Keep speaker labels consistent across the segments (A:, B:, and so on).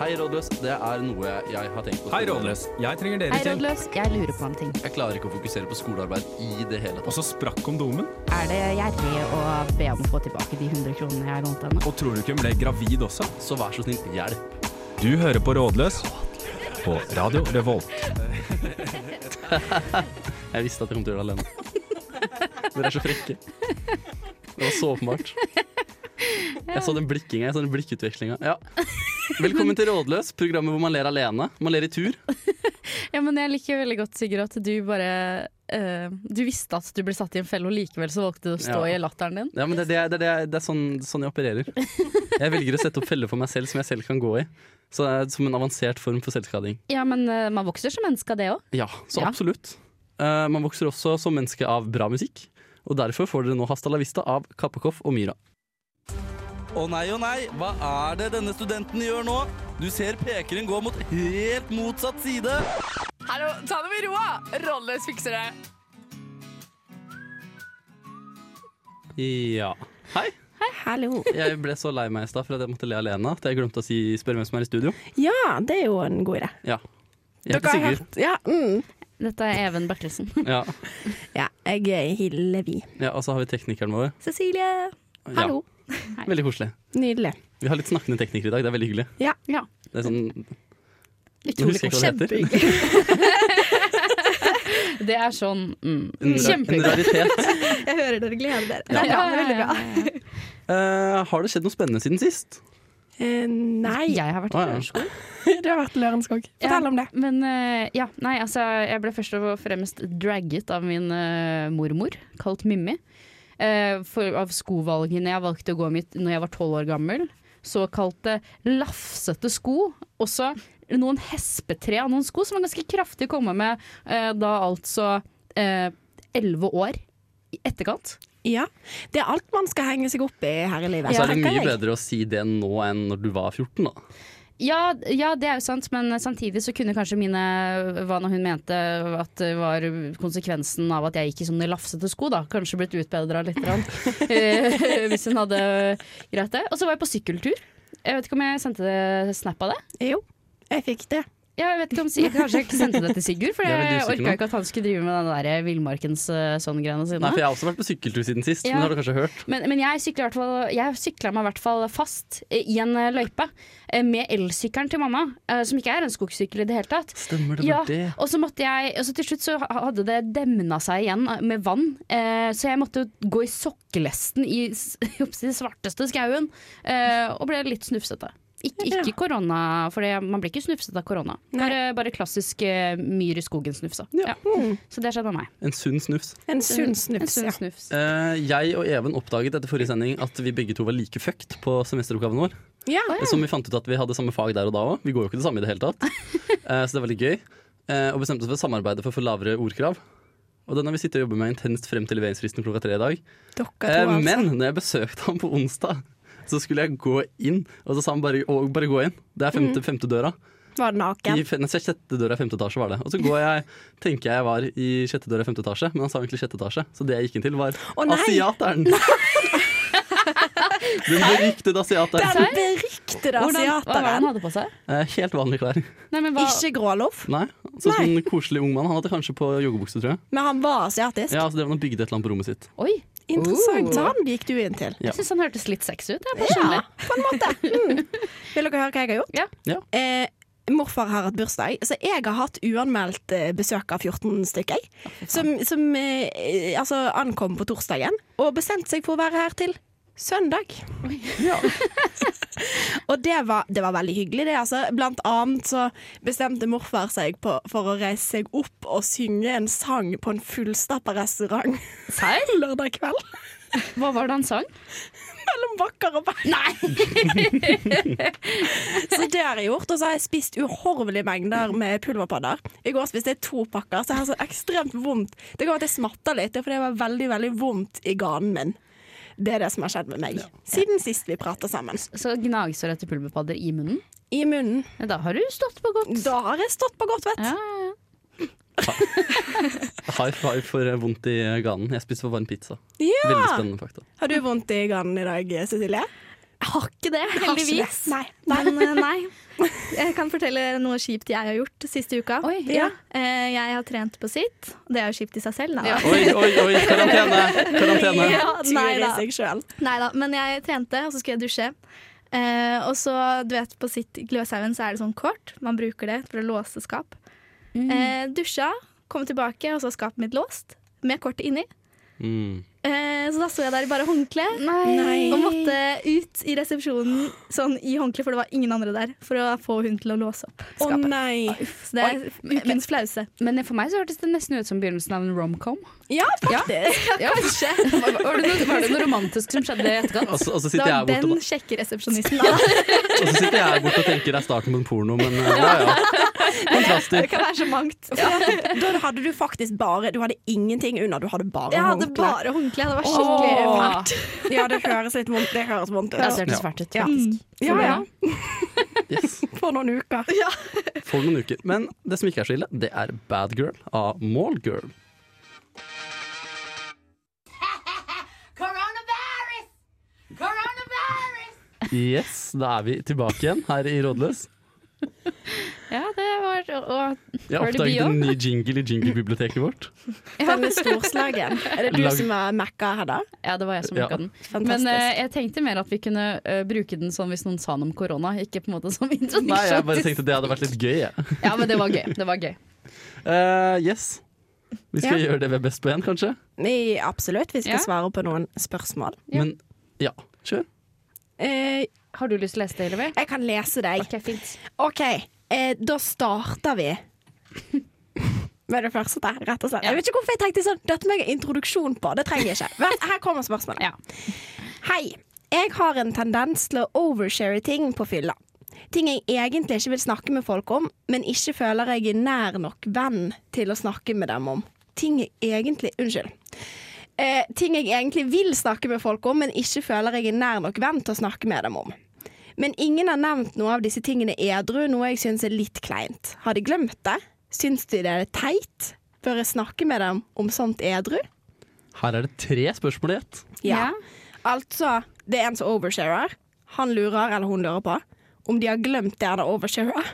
A: Hei, rådløs. Det er noe jeg har tenkt på.
B: Hei, Rådløs. Jeg trenger dere
C: Hei,
B: til.
C: rådløs. Jeg lurer på en ting.
A: Jeg klarer ikke å fokusere på skolearbeid i det hele
B: Og
A: tatt.
B: så sprakk kondomen.
C: Er det gjerrig å be om å få tilbake de 100 kronene jeg lånte henne?
B: Og tror du ikke hun ble gravid også?
A: Så vær så snill, hjelp.
B: Du hører på Rådløs på Radio Revolt.
A: Jeg visste at jeg kom til å gjøre det alene. Dere er så frekke. Det var så åpenbart. Jeg så den blikkinga, jeg så den blikkutvekslinga. Ja. Velkommen til Rådløs, programmet hvor man ler alene. Man ler i tur.
D: Ja, men jeg liker veldig godt, Sigurd, at du bare eh, Du visste at du ble satt i en felle, og likevel så valgte du å stå
A: Ja.
D: i latteren din.
A: Ja, men det, det, er- det, er- det er sånn, sånn jeg opererer. Jeg velger å sette opp feller for meg selv som jeg selv kan gå i. Så det er Som en avansert form for selvskading.
D: Ja, men eh, man vokser som menneske av det òg.
A: Ja, så
D: Ja.
A: absolutt. Eh, man vokser også som menneske av bra musikk. Og derfor får dere nå Hasta la vista av Kappekoff og Myra. Å nei, å nei, hva er det denne studenten gjør nå? Du ser pekeren gå mot helt motsatt side.
E: Hallo, ta det med ro! Rolleløs fikser det.
A: Ja. Hei.
F: Hallo.
A: Jeg ble så lei meg i stad for at jeg måtte le alene at jeg glemte å si, spørre hvem som er i studio.
F: Ja, det er jo en god idé.
A: Ja. Jeg
F: Dere
A: heter
F: har
A: Sigurd.
F: hørt- Ja, mm.
D: Dette er Even Bertelsen.
A: Ja.
F: ja, jeg er Hillevi.
A: ja, Og så har vi teknikeren vår.
F: Cecilie.
D: Hallo.
A: Ja. Veldig koselig.
F: Nydelig.
A: Vi har litt snakkende teknikere i dag. Det er veldig hyggelig.
F: Ja.
D: Ja.
A: Det er sånn, nå
D: Utrolig
A: husker jeg ikke hva det heter.
D: koselig. Det er sånn mm,
A: En, ra- en
D: Kjempehyggelig.
A: raritet.
F: Jeg hører dere gleder dere. Det er bra. Det er veldig bra.
A: Eh, har det skjedd noe spennende siden sist?
F: Eh, nei,
D: Jeg har vært
A: Å, ja.
D: på
F: det har vært Lørenskog. Fortell om det.
D: Men eh, ja, nei, altså jeg ble først og fremst dragget av min eh, mormor, kalt Mimmi. eh, for, av skovalgene jeg valgte å gå mitt når jeg var tolv år gammel. Såkalte lafsete sko. Også noen hespetre av noen sko som var ganske kraftig å komme med eh, da altså elleve år i etterkant.
F: Ja. Det er alt man skal henge seg opp i her i livet.
A: Og så er det
F: tenker
A: mye
F: jeg.
A: bedre å si det nå enn når du var 14, da.
D: Ja, ja, det er jo sant, men samtidig så kunne kanskje mine Hva nå hun mente at det var konsekvensen av at jeg gikk i sånne lafsete sko, da. Kanskje blitt utbedra litt. grann. Eh, Hvis hun hadde greit det. Og så var jeg på sykkeltur. Jeg vet ikke om jeg sendte det- snap av det.
F: Jo, jeg fikk det.
D: Jeg vet ikke om Sig- Kanskje jeg ikke sendte det til Sigurd, for
A: Jeg er veldig
D: jeg
A: usikker
D: orka
A: nå.
D: ikke at han skulle drive med den der villmarkens eh, sånn greiene sine.
A: Nei, for jeg har også vært på sykkeltur siden sist,
D: Ja.
A: men det har du kanskje hørt.
D: Men, men jeg sykla i hvert fall- jeg sykla meg i hvert fall fast eh, i en eh, løype eh, med elsykkelen til mamma, eh, som ikke er en skogsykkel i det hele tatt.
A: Stemmer det
D: Ja,
A: var det?
D: og så måtte jeg Og så til slutt så ha- hadde det demna seg igjen med vann, eh, så jeg måtte jo gå i sokkelesten i s- oppi den svarteste skauen, eh, og ble litt snufsete. Ikke,
F: Ja.
D: ikke korona, for det- man blir ikke snufset av korona.
F: Nei.
D: Bare, bare klassisk eh, myr i skogen-snufsa. Ja.
F: Mm.
D: Så det skjedde med meg.
A: En sunn snufs.
F: En sunn
D: En
F: snufs,
D: sunn
F: ja.
D: snufs.
A: Eh, jeg og Even oppdaget etter forrige sending at vi begge to var like fucked på semesteroppgaven vår.
F: ja.
A: Som Eh, vi fant ut at vi hadde samme fag der og da òg. Vi går jo ikke det samme i det hele tatt. Eh, så det er veldig gøy. Eh, og bestemte oss for å samarbeide for å få lavere ordkrav. Og den har vi sittet og jobbet med intenst frem til leveringsfristen klokka tre i dag.
F: Dere to,
A: Eh,
F: altså.
A: men når jeg besøkte ham på onsdag, så skulle jeg gå inn, og så sa han bare, å, bare gå inn. Det er
F: Mm.
A: femte, femte døra.
F: Var naken.
A: I fe- nei, sjette døra i femte etasje var det. Og så går jeg, tenker jeg jeg var i sjette døra i femte etasje, men han sa egentlig sjette etasje. Så det jeg gikk inn til, var
F: Å, nei!
A: asiateren. Den beryktede asiateren.
F: Den beryktede
D: Hvordan, hva var det han
F: asiateren.
D: hadde på seg?
A: Eh, Helt vanlige klær.
D: Nei, men hva,
F: Ikke gråloff,
A: Nei, sånn som
F: Nei.
A: en koselig ung mann. Han hadde kanskje på joggebukse, tror jeg.
F: men han var asiatisk.
A: Ja, så det var Han bygde et eller annet på rommet sitt.
D: oi,
F: Interessant. Så han gikk du inn til.
A: Ja.
D: jeg syns han hørtes litt sexy ut. Jeg,
F: Ja,
D: personlig.
F: på en måte. Mm. Vil dere høre hva jeg har gjort?
D: Ja.
A: Ja.
F: Eh, morfar har hatt bursdag, så jeg har hatt uanmeldt eh, besøk av 14 stykker. jeg. Som, som eh, eh, altså ankom på torsdagen og bestemte seg for å være her til søndag. og det var, det var veldig hyggelig, det. Altså. Blant annet så bestemte morfar seg på, for å reise seg opp og synge en sang på en fullstappa restaurant
D: Serr?
F: lørdag kveld.
D: Hva var det han sang?
F: Mellom bakker og bakker. så det har jeg gjort. Og så har jeg spist uhorvelige mengder med pulverpadder. I går spiste jeg to pakker, så jeg har så ekstremt vondt. Det går at jeg smatter litt, det er fordi det var veldig, veldig vondt i ganen min. Det er det som har skjedd med meg siden sist vi prata sammen.
D: Så gnagsår etter pulverpadder i munnen.
F: I munnen.
D: Ja, Da har du stått på godt.
F: Da har jeg stått på godt vett.
D: Ja, ja, ja.
A: High five for eh, vondt i ganen. Jeg spiste for varm pizza.
F: Ja!
A: Veldig spennende fakta.
F: Har du vondt i ganen i dag, Cecilie?
G: Jeg har ikke det,
F: Har ikke det.
G: heldigvis.
F: Nei.
G: Men eh, nei. Jeg kan fortelle noe kjipt jeg har gjort siste uka.
D: Oi, ja.
G: Eh, Jeg har trent på sitt. Det er jo kjipt i seg selv, da.
A: Oi, oi, oi, karantene! karantene.
G: Ja, nei
F: Tyr i
G: da.
F: seg sjøl.
G: Nei da, men jeg trente, og så skulle jeg dusje. Eh, og så, du vet, på sitt Gløshaugen så er det sånn kort. Man bruker det for å låse skap.
F: Mm.
G: Eh, dusja, kom tilbake, og så var skapet mitt låst med kortet inni.
A: Mm.
G: Eh, så da sto jeg der i bare håndkle
F: Nei.
G: og måtte ut i resepsjonen sånn i håndkle, for det var ingen andre der, for å få hun til å låse opp
F: Å
G: skapet.
F: nei.
G: Så det er ukens flause.
D: Men for meg så hørtes det nesten ut som begynnelsen av en romcom.
F: Ja, faktisk.
D: Ja. Var, var, det noe- var det noe romantisk som skjedde i etterkant?
A: Og så og så
G: Det
A: sitter jeg
G: var
A: her borte
G: den
A: og,
G: kjekke resepsjonisten. Da.
A: og, så sitter jeg her borte og tenker det er starten på en porno, men eh, ja ja.
G: Det
A: Kontraster.
G: kan være så mangt.
F: Da hadde du faktisk bare Du hadde ingenting under, du hadde bare
G: Jeg hadde
F: håndkle.
G: bare håndkle. Det var skikkelig
D: Åh.
G: fælt.
F: Ja, det høres litt vondt Det høres vondt
D: Ja, det
F: ut.
D: hørtes fælt ut.
F: Ja.
D: faktisk.
F: Ja, ja.
A: Yes.
F: For noen uker.
A: For noen uker. Men det som ikke er så ille, det er Bad Girl av Mallgirl. Yes, da er vi tilbake igjen her i Rådløs.
D: Ja, det var og,
A: Jeg
D: Cardi B
A: oppdaget en
D: også.
A: ny jingle i jingle-biblioteket vårt.
F: Den er storslagen. Er det du
A: Lag-
F: som er mekka her, da?
D: Ja, det var jeg som
A: Ja.
D: lukka den.
F: Fantastisk.
D: Men eh, jeg tenkte mer at vi kunne eh, bruke den sånn hvis noen sa noe om korona, ikke på en måte som introduksjon.
A: Nei, jeg bare tenkte det hadde vært litt gøy, jeg.
D: Ja, men det var gøy. Det var gøy.
A: Eh, yes. Vi skal
F: Ja.
A: gjøre det vi er best på igjen, kanskje.
F: Nei, absolutt. Vi skal
D: Ja.
F: svare på noen spørsmål.
D: Ja.
A: Men ja, kjør.
F: Eh,
D: Har du lyst til å lese det, Hillevi?
F: jeg kan lese deg.
D: Ok, fint.
F: OK, eh, da starter vi. Med det første, rett og slett. Jeg vet ikke hvorfor jeg tenkte sånn. Dette må jeg ha introduksjon på. Det trenger jeg ikke. Vent, her kommer spørsmålet.
D: Ja.
F: Hei. Jeg har en tendens til å overshare ting på fylla. Ting jeg egentlig ikke vil snakke med folk om, men ikke føler jeg er nær nok venn til å snakke med dem om. Ting jeg egentlig Unnskyld. Eh, ting jeg egentlig vil snakke med folk om, men ikke føler jeg er nær nok venn til å snakke med dem om. Men ingen har nevnt noe av disse tingene edru, noe jeg syns er litt kleint. Har de glemt det? Syns de det er teit? Bør jeg snakke med dem om sånt edru?
A: Her er det tre spørsmål i ett.
F: Ja. Altså, det er en som oversharer. Han lurer, eller hun lurer på, om de har glemt det han har oversharer,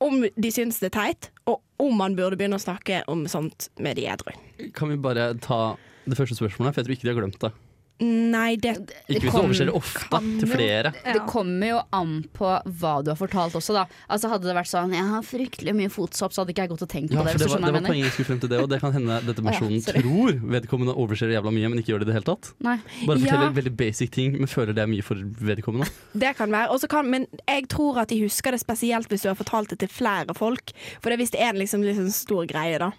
F: om de syns det er teit, og om man burde begynne å snakke om sånt med de edru.
A: Kan vi bare ta det første spørsmålet, for jeg tror ikke de har glemt det.
F: Nei, det
A: Ikke hvis du
D: kom-
A: overser det ofte til flere.
D: Det kommer jo an på hva du har fortalt også, da. Altså Hadde det vært sånn 'jeg har fryktelig mye fotsopp', så hadde ikke jeg gått og tenkt på
A: Ja,
D: det.
A: for
D: Hvis
A: det
D: du
A: var, det
D: skjønner hva
A: var
D: jeg mener.
A: poenget jeg skulle frem til det, og det kan hende dette personen tror vedkommende overser jævla mye, men ikke gjør det i det hele tatt.
D: Nei.
A: Bare forteller
F: Ja.
A: veldig basic ting, men føler det er mye for vedkommende.
F: Det kan være. Og så kan, men jeg tror at de husker det spesielt hvis du har fortalt det til flere folk. For det er hvis det er en liksom, litt sånn stor greie, da.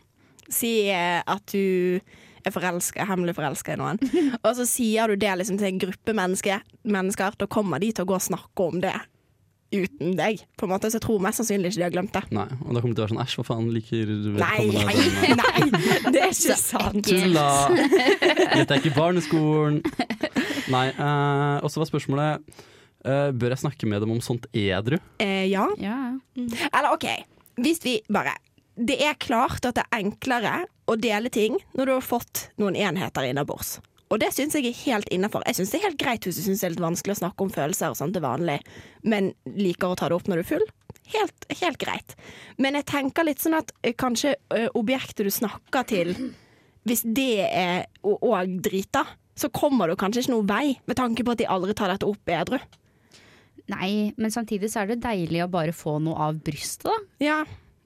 F: Si eh, at du er forelska, hemmelig forelska i noen. Og så sier du det liksom, til en gruppe mennesker, mennesker, da kommer de til å gå og snakke om det uten deg. På en måte. Så jeg tror mest sannsynlig ikke de har glemt det.
A: Nei, og da kommer det til å være sånn æsj, hva faen liker
F: Nei,
A: vedkommende
F: nei,
A: den, eh,
F: nei, det er ikke sant.
A: Tulla! Dette er ikke barneskolen. Nei. eh, og så var spørsmålet eh, Bør jeg snakke med dem om sånt edru?
F: Eh, ja.
D: Ja.
F: Eller OK, hvis vi bare Det er klart at det er enklere å dele ting når du har fått noen enheter innabords. Og det syns jeg er helt innafor. Jeg syns det er helt greit hvis du syns det er litt vanskelig å snakke om følelser og sånt til vanlig, men liker å ta det opp når du er full. Helt, helt greit. Men jeg tenker litt sånn at eh, kanskje ø, objektet du snakker til, hvis det er å- og drita, så kommer du kanskje ikke noen vei, med tanke på at de aldri tar dette opp edru.
D: Nei, men samtidig så er det deilig å bare få noe av brystet, da.
F: Ja.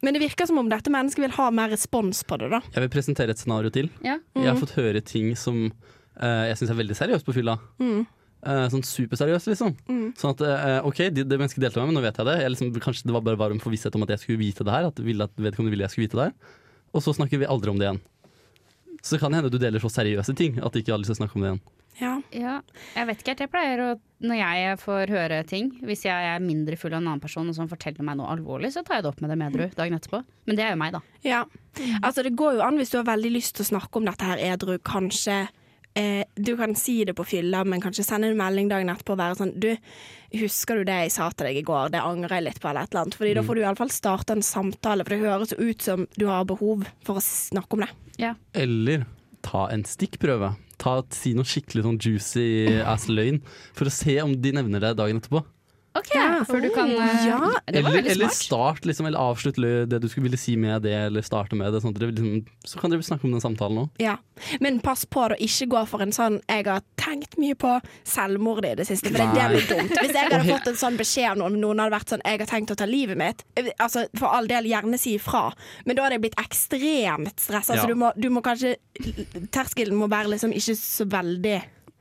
F: Men det virker som om dette mennesket vil ha mer respons på det, da.
A: Jeg vil presentere et scenario til.
D: Ja.
A: Jeg har fått høre ting som eh, jeg syns er veldig seriøst på fylla. Eh, sånn superseriøst, liksom. Sånn at eh, OK, det de det mennesket delte med meg, men nå vet jeg det. Jeg liksom, kanskje det var bare var en forvisshet om at jeg skulle vite det her. At, ville, at vedkommende ville jeg skulle vite det her. Og så snakker vi aldri om det igjen. Så det kan hende du deler så seriøse ting at de ikke har lyst til å snakke om det igjen.
F: Ja.
D: Ja, jeg vet ikke helt. Jeg pleier å Når jeg får høre ting, hvis jeg er mindre full av en annen person og som forteller meg noe alvorlig, så tar jeg det opp med dem edru dagen etterpå. Men det er jo meg, da.
F: Ja. Altså, det går jo an hvis du har veldig lyst til å snakke om dette her edru, kanskje eh, Du kan si det på fylla, men kanskje sende en melding dagen etterpå og være sånn Du, husker du det jeg sa til deg i går? Det angrer jeg litt på, eller et eller annet. Fordi da får du iallfall starta en samtale, for det høres jo ut som du har behov for å snakke om det.
A: Eller ta en stikkprøve. Ta, si noe skikkelig sånn juicy ass-løgn for å se om de nevner det dagen etterpå.
D: Ok, Før du kan eh,
F: Ja,
D: Det
A: Eller,
D: var veldig
A: eller
D: smart.
A: start, liksom, eller avslutt lø- det du skulle ville si med det, eller starte med det. Sånn at dere, liksom, så kan dere snakke om den samtalen òg.
F: Ja. Men pass på å ikke gå for en sånn 'jeg har tenkt mye på selvmord i det siste', for det, det
A: Nei.
F: blir dumt. Hvis jeg hadde fått en sånn beskjed om noen, noen hadde vært sånn 'jeg har tenkt å ta livet mitt', eh, altså for all del, gjerne si ifra, men da hadde jeg blitt ekstremt stressa,
A: Ja.
F: så du må, du må kanskje Terskelen må være liksom ikke så veldig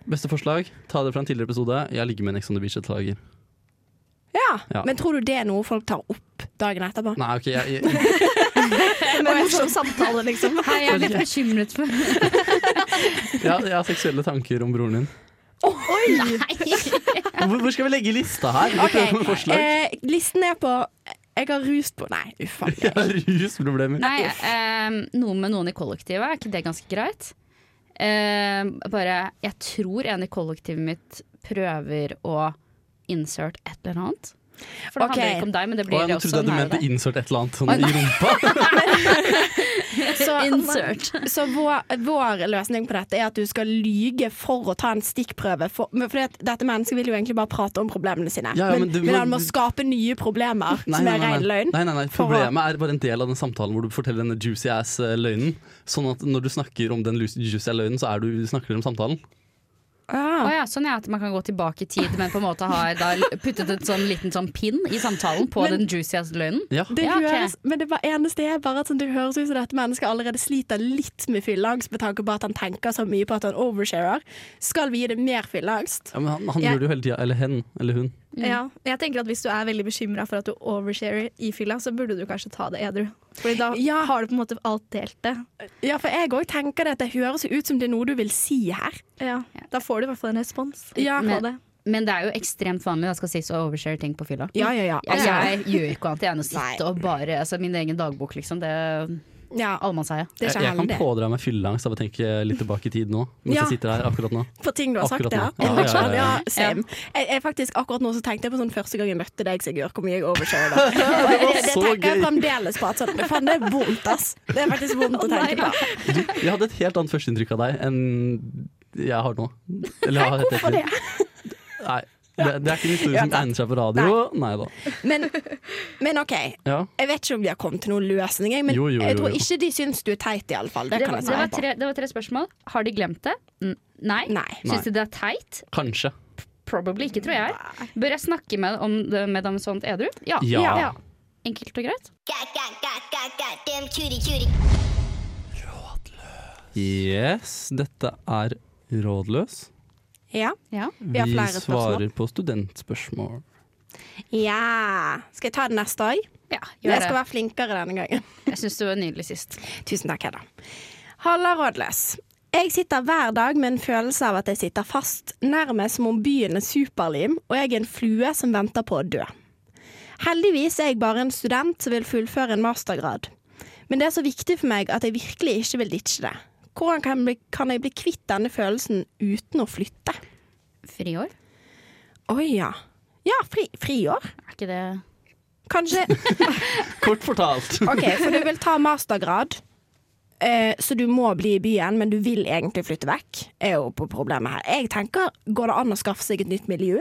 A: Beste forslag? Ta det fra en tidligere episode. Jeg ligger med en Ex on the Beach-deltaker.
F: ja.
A: Ja.
F: men tror du det er noe folk tar opp dagen etterpå?
A: Nei, OK, jeg, jeg,
G: En morsom samtale, liksom.
D: Hei, jeg er litt bekymret for
A: jeg, har- jeg har seksuelle tanker om broren din. Hvor, hvor skal vi legge lista her? Vi prøver med forslag.
F: eh, listen er på 'jeg har rus på' Nei, uff a
A: Jeg
F: meg.
A: har rusproblemer.
D: Nei, eh, noe med noen i kollektivet, er ikke det ganske greit? Eh, bare, jeg tror en i kollektivet mitt prøver å insert et eller annet. For det
F: Ok.
D: handler ikke om deg, men det
A: Å,
D: blir
A: jeg nå
D: også
A: trodde jeg du
D: nære
A: mente
D: deg.
A: insert et eller annet sånn i rumpa.
F: Så-
D: Insert.
F: Så vår, vår løsning på dette er at du skal lyge for å ta en stikkprøve. For, men fordi at dette mennesket vil jo egentlig bare prate om problemene sine.
A: Ja, ja, men
F: men,
A: du
F: men,
A: må-
F: han må skape nye problemer
A: Nei,
F: som
A: nei,
F: er
A: nei,
F: ren
A: nei.
F: løgn.
A: Nei, nei, nei.
F: For å-
A: Problemet er bare en del av den samtalen hvor du forteller denne juicy ass-løgnen. Sånn at når du snakker om den lu- juicy ass-løgnen, så er du, snakker dere om samtalen.
D: Å
F: Ah.
D: ja, sånn er at man kan gå tilbake i tid, men på en måte har da puttet et sånn liten sånn pin i samtalen på
F: Men-
D: den juicieste løgnen.
A: Ja.
F: Det
D: Ja, ok.
F: høres, men det var eneste er bare at sånn, det høres ut som dette mennesket allerede sliter litt med fylleangst med tanke på at han tenker så mye på at han oversharer. Skal vi gi det mer fylleangst?
A: Ja, men han han
G: Jeg-
A: gjør det jo hele tida. Eller hen. Eller hun.
G: Ja, jeg tenker at Hvis du er veldig bekymra for at du oversharer i fylla, så burde du kanskje ta det edru. Fordi da
F: Ja.
G: har du på en måte alt delt det.
F: Ja, for jeg òg tenker det at det høres jo ut som det er noe du vil si her.
G: Ja. Da får du i hvert fall en respons
F: Ja.
G: på det.
D: Men det er jo ekstremt vanlig, det skal sies, å overshare ting på fylla.
F: Ja, ja, ja.
D: Jeg,
F: Altså,
D: jeg gjør ikke annet enn å
F: Nei.
D: sitte og bare altså Min egen dagbok, liksom. Det
F: ja,
D: allmannseie.
F: det er
A: Jeg,
F: ikke
A: jeg kan
F: heldig.
A: pådra meg fylleangst av å tenke litt tilbake i tid nå. Mens
F: Ja.
A: jeg sitter her akkurat nå.
F: På ting du har sagt, ja.
A: Akkurat nå. Ja, ja, ja, ja.
F: Ja, same. Jeg, jeg faktisk akkurat nå så tenkte jeg på sånn første gang jeg møtte deg, Sigurd, hvor mye jeg overkjører deg. Og Det, det
A: så
F: tenker jeg
A: gøy.
F: fremdeles på. At sånn, faen, det er vondt, ass. Det er faktisk vondt å tenke på.
A: Du, jeg hadde et helt annet førsteinntrykk av deg enn jeg har nå. Eller jeg har hatt
F: Hvorfor det?
A: etter. Nei, det, det er ikke en historie
F: Ja,
A: som
F: sant.
A: egner seg på radio. Nei da.
F: Men, men OK.
A: Ja.
F: Jeg vet ikke om vi har kommet til noen løsning, jeg, men
A: Jo, jo, jo,
F: jeg tror
A: jo.
F: ikke de syns du er teit, iallfall. Det
D: Det,
F: kan
D: var-
F: jeg
D: det,
F: svare
D: var
F: på.
D: tre, det var tre spørsmål. Har de glemt det? N- Nei.
F: Nei.
D: Syns de det er teit?
A: Kanskje.
D: Probably ikke, tror jeg. Bør jeg snakke med, om det, med dem sånt edru? Ja.
A: Ja.
D: Enkelt og greit.
H: God, God, God, God, God, damn cutie, cutie.
A: Yes, dette er Rådløs.
F: Ja.
D: Ja.
A: Vi
F: Vi har flere spørsmål.
A: svarer på studentspørsmål.
F: ja. Skal jeg ta det neste òg?
D: ja
F: Jeg
D: gjør
F: skal
D: det.
F: være flinkere denne gangen.
D: Jeg syns du var nydelig sist.
F: Tusen takk, Hedda. Halla, rådløs. Jeg sitter hver dag med en følelse av at jeg sitter fast, nærmest som om byen er superlim, og jeg er en flue som venter på å dø. Heldigvis er jeg bare en student som vil fullføre en mastergrad. Men det er så viktig for meg at jeg virkelig ikke vil ditche det. Hvordan kan jeg bli, kan jeg bli kvitt denne følelsen uten å flytte?
D: Friår?
F: Å ja. Ja, fri, friår.
D: Er ikke det
F: Kanskje
A: Kort fortalt.
F: OK, for du vil ta mastergrad, eh, så du må bli i byen, men du vil egentlig flytte vekk, er jo på problemet her. Jeg tenker, går det an å skaffe seg et nytt miljø?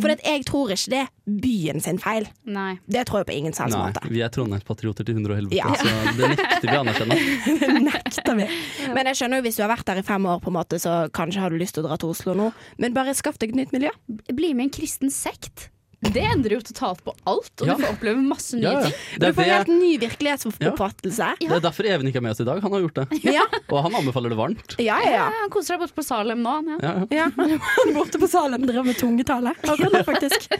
F: For at jeg tror ikke det er byen sin feil.
D: Nei.
F: Det tror jeg på ingen sans
A: Nei,
F: måte.
A: vi er Trondheimspatrioter til hundre og helvete,
F: Ja.
A: så det nekter vi å anerkjenne.
F: Det nekter vi. Men jeg skjønner jo hvis du har vært der i fem år, på en måte, så kanskje har du lyst til å dra til Oslo nå. Men bare skaff deg et nytt miljø.
D: Bli med i en kristen sekt. Det endrer jo totalt på alt, og
A: Ja.
D: du får oppleve masse nye
A: Ja, ja.
D: ting.
A: Det
F: Du
A: er
F: får en
A: det
F: helt ny virkelighetsoppfattelse.
A: Det er derfor Even ikke er med oss i dag. Han har gjort det.
F: Ja.
A: Og han anbefaler det varmt.
F: Ja, ja, ja.
D: Ja, han koser seg borte på Salem nå. Han, ja.
A: Ja, ja.
F: Ja, han er borte på salen og driver med tungetale. Akkurat nå, faktisk.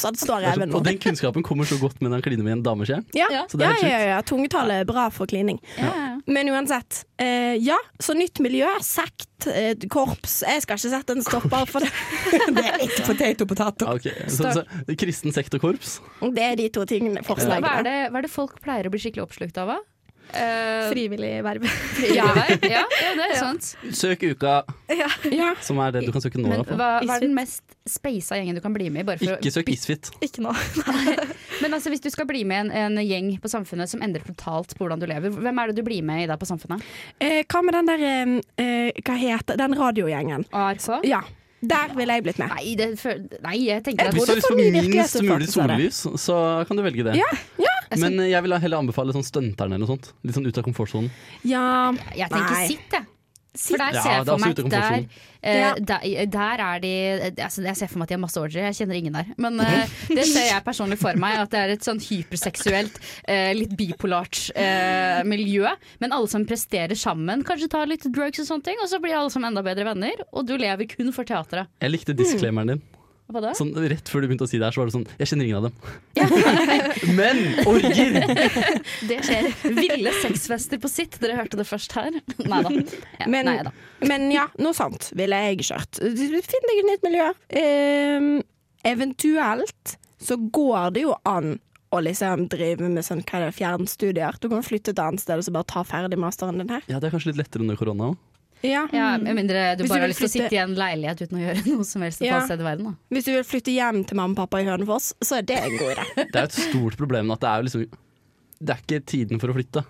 F: Sånn står
A: Det er
F: Even
A: så-
F: nå.
A: Og den kunnskapen kommer så godt med når han kliner med en dameskje.
F: Ja,
D: Ja.
F: ja,
A: Så det er
F: ja,
A: helt
F: ja, Tungetale er bra for klining.
D: Ja.
F: Men uansett. Eh, ja, så nytt miljø. Sekt, eh, korps. Jeg skal ikke sette en stopper for det. det er litt potato potato.
A: Ja, ok. så, så, kristen sekt og korps.
F: Det er de to tingene
D: Hva, er
F: forslagene.
D: det, hva er det folk pleier å bli skikkelig oppslukt av? da? Eh,
G: Frivillig verv.
D: ja, ja, ja, det er sant.
A: Søk uka,
G: ja.
D: Ja.
A: som er det du kan søke nå. i
D: Men
A: hvert fall.
D: hva, hva er den mest speisa gjengen du kan bli med i? Bare for
A: Ikke
D: å,
A: søk Isfit.
G: Ikke nå.
D: men altså, hvis du skal bli med i en, en gjeng på samfunnet som endrer totalt på hvordan du lever, hvem er det du blir med i da på samfunnet?
F: Eh, hva med den der eh, eh, Hva heter den radiogjengen?
D: ARK?
F: Ja. Der ville jeg blitt med.
D: Nei, det, føl- nei, jeg tenker at
A: Hvis du har lyst på
F: får mye
A: minst mulig
F: virkelighetsoppfattelse av det.
A: sollys, så kan du velge det. Men eh, jeg vil heller anbefale sånn stunteren eller noe sånt. Litt sånn ut av komfortsonen.
F: Ja,
D: Jeg tenker
F: Nei.
D: sitt, jeg. For der
A: Ja,
D: ser jeg
A: det er
D: for meg
A: absolutt
D: at
A: en
D: der,
A: komfortsone.
D: eh,
F: Ja.
D: der, der er de altså, Jeg ser for meg at de har masse orgier, jeg kjenner ingen der. Men eh, det ser jeg personlig for meg, at det er et sånn hyperseksuelt, eh, litt bipolart eh, miljø. Men alle som presterer sammen, kanskje tar litt drugs og sånne ting, og så blir alle som enda bedre venner, og du lever kun for teatret.
A: Jeg likte disclaimeren din.
D: Hva da?
A: Sånn, rett før du begynte å si det her, så var det sånn Jeg kjenner ingen av dem. Men orger!
D: Det skjer. Ville sexfester på sitt, dere hørte det først her. Nei da. Ja,
F: Men-
D: nei da.
F: men ja, noe sånt ville jeg kjørt. Finn deg et nytt miljø. Eh, eventuelt så går det jo an å liksom drive med sånn hva er det, fjernstudier. Du kan flytte et annet sted og så bare ta ferdig masteren din her.
A: Ja, det er kanskje litt lettere under korona òg.
F: Ja.
D: Ja, Med mindre du
F: Hvis du
D: bare har
F: vil
D: lyst til å
F: flytte-
D: sitte i en leilighet uten å gjøre noe som helst et
F: Ja.
D: annet sted i verden. da
F: Hvis du vil flytte hjem til mamma og pappa i Hønefoss, så er det en god idé.
A: Det er jo et stort problem at det er jo liksom Det er ikke tiden for å flytte.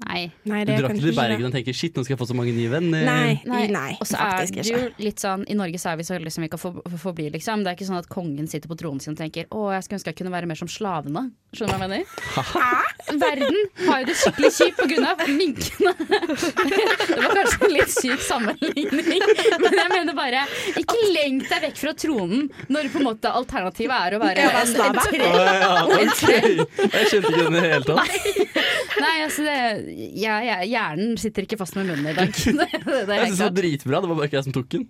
D: Nei.
F: Nei,
A: Du drar ikke til Bergen og tenker 'shit, nå skal jeg få så mange nye venner'.
F: Nei, nei,
D: Nei, Og så er
F: faktisk
D: det
F: ikke.
D: jo litt sånn I Norge så er vi så heldige som vi kan få, få, forbli, liksom. Det er ikke sånn at kongen sitter på tronen sin og tenker Å, jeg skulle ønske jeg kunne være mer som slavene. Skjønner du hva jeg mener? Verden har jo det skikkelig kjipt pga. minkene. Det var kanskje en litt syk sammenligning, men jeg mener bare Ikke lenk deg vekk fra tronen når på en måte alternativet er å være en, en tre.
A: Å, ja, ok. Jeg skjønte ikke den i det hele tatt.
D: Nei, altså det, jeg, jeg, Hjernen sitter ikke fast med munnen i dag. Det, det, det
A: Jeg
D: er helt
A: synes det var
D: klart.
A: dritbra, det var bare ikke jeg som tok den.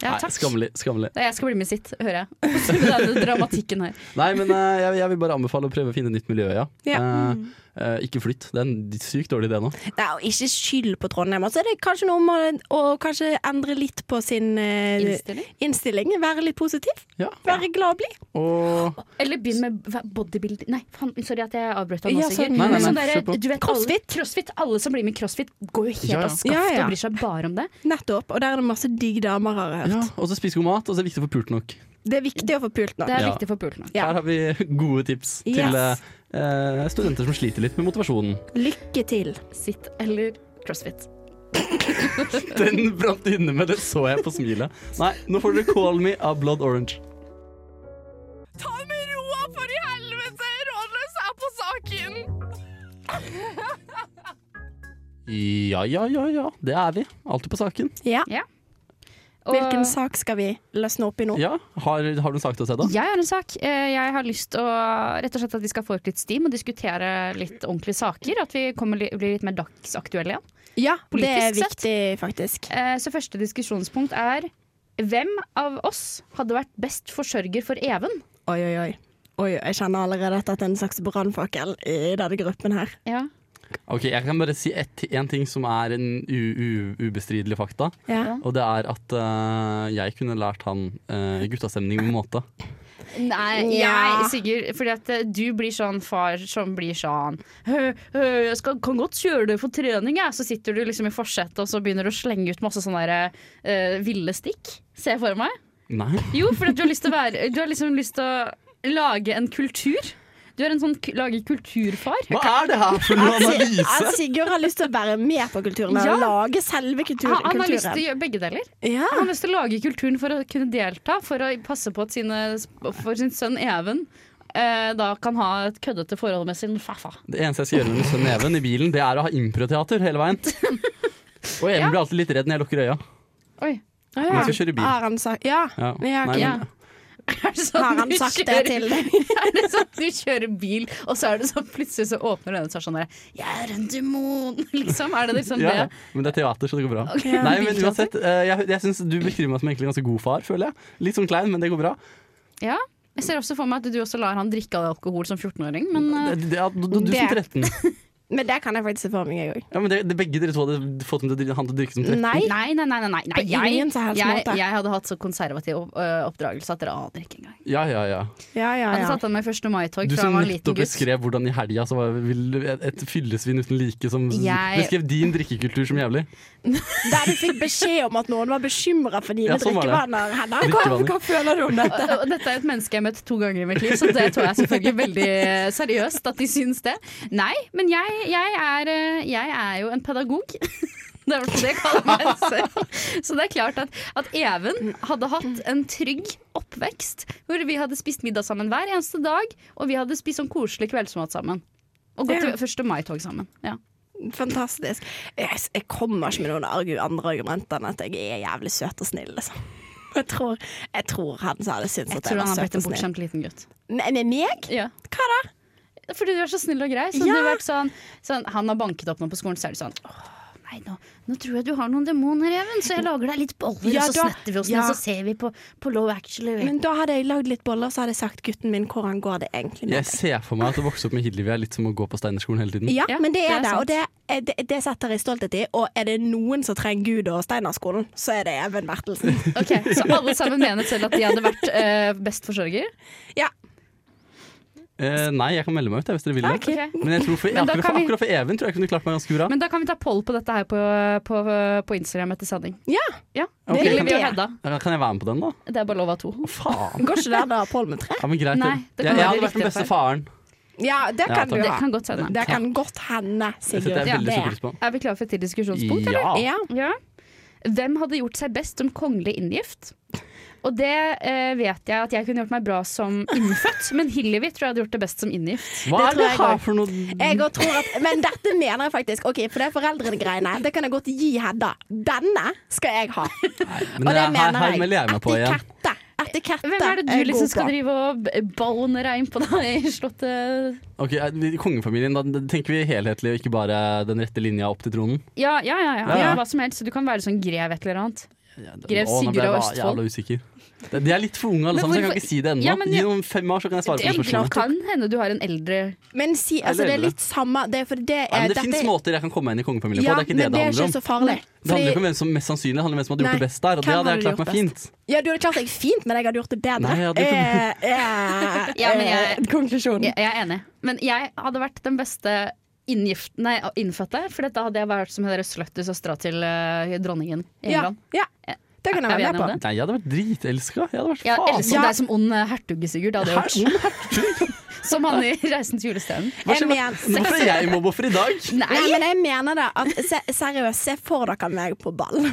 D: Ja,
A: Nei,
D: takk.
A: skammelig. skammelig
D: Nei, Jeg skal bli med sitt, hører jeg. Denne dramatikken her.
A: Nei, men eh, jeg, jeg vil bare anbefale å prøve å finne et nytt miljø, ja.
F: Ja.
A: Eh,
D: Mm.
A: eh, ikke flytt. Det er en sykt dårlig idé nå.
F: Nei, og ikke skyld på Trondheim. Og så er det kanskje noe om å, å kanskje endre litt på sin eh,
D: Innstilling?
F: innstilling. Være litt positiv.
A: Ja.
F: Være glad og blid.
A: Og
D: Eller begynn med hva- bodybuilding Nei, faen, sorry at jeg avbrøt deg nå,
F: Ja,
D: Sigurd.
F: sånn- Nei,
A: nei,
D: Men
A: nei,
D: sånn derre,
A: kjør på.
D: du vet,
F: Crossfit.
D: Alle, crossfit. Alle som blir med i crossfit, går jo helt
A: Ja, ja.
D: av skaftet
F: Ja, ja.
D: og bryr seg bare om det.
F: Nettopp. Og der er det masse digg damer, har jeg hørt.
A: ja, og så spise god mat, og så er det viktig å få pult nok.
F: Det er viktig å få pult nå.
D: Det er
A: Ja.
D: viktig for pulten.
F: Ja.
A: Her har vi gode tips til
F: Yes.
A: eh, eh, studenter som sliter litt med motivasjonen.
F: Lykke til.
D: Sitt eller crossfit.
A: Den brant inne med, det så jeg på smilet. Nei, nå får dere 'Call Me' av Blood Orange.
E: Ta det med roa, for i helvete! Rådløs er på saken!
A: Ja, ja, ja, ja. Det er vi. Alltid på saken.
F: Ja.
D: Og-
F: Hvilken sak skal vi løsne opp i nå?
A: Ja, Har, har du en sak til å se, da?
D: Jeg har en sak. Eh, Jeg har lyst til å rett og slett at vi skal få ut litt steam og diskutere litt ordentlige saker. At vi kommer, li- blir litt mer dagsaktuelle igjen.
F: Ja, det er
D: Politisk sett.
F: viktig, faktisk.
D: Eh, Så første diskusjonspunkt er hvem av oss hadde vært best forsørger for Even?
F: Oi, oi, oi. Oi, Jeg kjenner allerede at dette er en slags brannfakkel i denne gruppen her.
D: Ja.
A: Ok, Jeg kan bare si én ting som er en u, u, ubestridelig fakta.
F: Ja.
A: Og det er at eh, jeg kunne lært han eh, guttastemning med måte.
D: Nei,
F: Ja.
D: jeg, Sigurd, fordi at eh, du blir sånn far som blir sånn «Hø, hø, Jeg skal, kan godt kjøre det for trening, jeg. Så sitter du liksom i forsetet og så begynner du å slenge ut masse sånne der, eh, ville stikk. Ser jeg for meg.
A: Nei.
D: Jo, fordi at du har lyst til å være Du har liksom lyst til å lage en kultur. Du er en sånn ku- lage kulturfar.
A: Hva er det her for noe
F: At Sigurd har lyst til å være med på kulturen og
D: Ja.
F: lage selve kultur,
D: Han, han har lyst til å
F: kulturen.
D: gjøre begge deler.
F: Ja.
D: Han har lyst til å lage kulturen for å kunne delta, for å passe på at sine, for sin sønn Even eh, da kan ha et køddete forhold med sin faffa.
A: Det eneste jeg skal gjøre med sønn Even i bilen, det er å ha improteater hele veien. Og Even blir alltid litt redd når jeg lukker øya.
D: Oi.
A: Men jeg skal kjøre bil.
F: Har han sagt Ja.
A: Ja.
F: Ja,
A: Nei,
F: ok.
A: men,
D: Er det sånn
F: Har han
D: du
F: sagt det
D: kjører-
F: til deg?
D: Er det sånn at du kjører bil, og så er det sånn plutselig så åpner øynene og så er det sånn der Jeg er en demon, liksom. Er det liksom
A: ja, ja.
D: det?
A: men det er teater, så det går bra. Nei, men uansett, eh, jeg, jeg synes Du beskriver meg som egentlig en ganske god far, føler jeg. Litt sånn klein, men det går bra.
D: Ja. Jeg ser også for meg at du også lar han drikke av alkohol som 14-åring, men eh,
A: Det, det, ja, du, du, du som
F: Det-
A: 13.
F: Men det kan jeg faktisk se for meg, jeg òg.
A: Ja, men det, det, Begge dere to hadde fått dem til, å dri- han til å drikke som tre.
F: Nei.
D: eh, Nei, nei, nei. nei, nei, nei.
F: På ingen
D: Jeg,
F: som helst
D: jeg,
F: måte.
D: jeg hadde hatt så konservativ opp- øh, oppdragelse at dere aner ikke engang.
A: Ja, ja, ja.
F: Ja, ja,
D: Jeg hadde
F: ja.
D: tatt av meg 1. mai-tog
A: Du
D: fra jeg
A: som
D: var en liten
A: nettopp
D: gutt.
A: beskrev hvordan i helga så var vil, et, et fyllesvin uten like som
D: Jeg-
A: beskrev din drikkekultur som jævlig.
F: Der du fikk beskjed om at noen var bekymra for dine
A: Ja, sånn var det.
F: drikkevaner. Hva,
A: Drikkevaner.
F: hva føler du om dette?
D: Og- og Dette er et menneske jeg har møtt to ganger i mitt liv, så det tar jeg selvfølgelig veldig eh, seriøst at de syns det. Nei, men jeg, jeg, er, eh, jeg er jo en pedagog. Det er i hvert fall det jeg kaller meg selv. Så det er klart at, at Even hadde hatt en trygg oppvekst hvor vi hadde spist middag sammen hver eneste dag, og vi hadde spist sånn koselig kveldsmat sammen. Og gått
F: Ja.
D: til 1. mai-tog sammen. Ja.
F: Fantastisk. Jeg, jeg kommer ikke med noen argu andre argumenter enn at jeg er jævlig søt og snill, liksom. Jeg tror, jeg tror han sa det syntes
D: Jeg
F: at
D: tror han
F: jeg var
D: har blitt
F: søt
D: en
F: og snill.
D: bortskjemt liten gutt.
F: Med, med meg?
D: Ja.
F: Hva da?
D: Fordi du er så snill og grei. Så
F: Ja.
D: hadde det vært sånn, sånn, han har banket opp noe på skolen, så er det sånn Åh, nei, nå, nå tror jeg du har noen demoner, Even, så jeg lager deg litt boller,
F: Ja,
D: og så
F: da-
D: snetter vi oss
F: ja.
D: ned, så ser vi på, på Love Actually.
F: Men da hadde jeg lagd litt boller, så hadde jeg sagt gutten min hvor han går det egentlig med
A: Jeg ser for meg at å vokse opp med Hillevi er litt som å gå på Steinerskolen hele tiden.
F: Ja,
D: Ja,
F: men det
D: det
F: er
D: er
F: det, og det, er- det, det setter jeg stolthet i. Og er det noen som trenger Gud og Steinerskolen, så er det Even Bertelsen.
D: Ok, Så alle sammen mener selv at de hadde vært eh, best forsørger?
F: Ja,
A: Eh, nei, jeg kan melde meg ut jeg, hvis dere vil det.
D: Ok.
A: Men jeg tror for,
D: Men da
A: akkurat,
D: kan vi-
A: akkurat for Even tror jeg kunne klart meg ganske bra.
D: Men da kan vi ta poll på dette her på, på, på Instagram etter sending.
F: ja.
D: Ja.
A: Ok,
D: Hillevi
A: kan-
D: og Hedda.
A: Ja, Kan jeg være med på den, da?
D: Det er bare lov av to.
A: Faen!
F: Går ikke det da Pål med tre?
A: Ja, men greit.
D: Nei, det
A: jeg, jeg
D: kan være
A: hadde vært den
D: riktig
A: beste
D: feil.
A: faren.
F: Ja, det
A: Ja,
F: kan du
A: takk.
D: Det
F: ha.
D: kan godt hende.
F: Det kan godt hende,
A: Det
F: Sigurd.
A: setter jeg veldig stor pris på.
D: Er vi klare for et til diskusjonspunkt, eller?
A: Ja.
F: Ja.
D: Ja. Hvem hadde gjort seg best som kongelig inngift? Og det eh, vet jeg at jeg kunne gjort meg bra som innfødt, men Hillevi tror jeg hadde gjort det best som inngift.
A: Hva
F: Det
A: er
F: tror
A: det
F: jeg
A: her
F: går.
A: for noe
F: Jeg òg tror at Men dette mener jeg faktisk. Ok, For det er foreldrene-greiene. Det kan jeg godt gi Hedda. Denne skal jeg ha.
A: Men
F: Og
A: det
F: det
A: er- her,
F: mener
A: her
F: jeg.
A: melder jeg meg på igjen.
F: Etikette. Etikette
D: Hvem er det
F: jeg
D: du liksom
F: god
D: skal
F: på.
D: drive og b- bone rein på da i slottet?
A: Ok, eh, vi- Kongefamilien, da tenker vi helhetlig og ikke bare den rette linja opp til tronen.
D: Ja, ja, ja. ja.
A: Ja, ja.
D: Hva som helst. Så du kan være sånn grev et eller annet. Grev
A: Å, nå ble
D: Sigurd av
A: jeg
D: Østfold.
A: jævla usikker. De- De er litt for unge, alle
D: Men
A: sammen, så jeg
D: hvorfor-
A: kan ikke si det ennå.
D: Ja, men
A: Gi
D: jeg-
A: noen fem år, så kan jeg svare
D: Det
A: på
D: er
A: spørsmålet.
D: kan hende du har en eldre
F: Men si, altså, det er litt samme Det, er for det,
A: Nei,
F: er-
A: men det
F: dette-
A: fins måter jeg kan komme meg inn i kongefamilien
F: ja,
A: på. Det er ikke det det
F: men det er
A: handler
F: ikke
A: om.
F: så farlig.
A: Det handler jo ikke
F: Fordi,
A: om hvem som mest sannsynlig det handler om hvem som hadde gjort
F: Nei.
A: det best der. Og det
F: Hvem
A: hadde jeg
F: hadde
A: klart meg
F: gjort
A: fint.
F: ja, du hadde klart deg fint, men jeg hadde gjort det bedre.
A: Nei, jeg hadde
F: eh,
A: gjort
F: eh,
D: Ja, men jeg-
F: eh, konklusjonen.
D: Jeg, jeg er enig. Men jeg hadde vært den beste inngift, nei, innfødte, for da hadde jeg vært som hun derre slutty-søstera til eh, dronningen i
F: Ja,
D: England.
F: ja. Det kan jeg
D: Er vi enige
F: være
D: om
F: med på.
D: det?
A: Nei, jeg hadde vært dritelska. Jeg hadde vært
D: Jeg
A: faen.
D: elsker
F: Ja.
D: deg som ond eh, hertug, Sigurd. Det hadde jeg gjort. Som han i 'Reisen til julestjernen'.
A: Hva skjer
F: Jeg
A: med-
F: mener-
A: Hvorfor er jeg mobbeoffer i dag?
F: Nei, men jeg mener det. At, se, seriøst, se for dere meg på ball.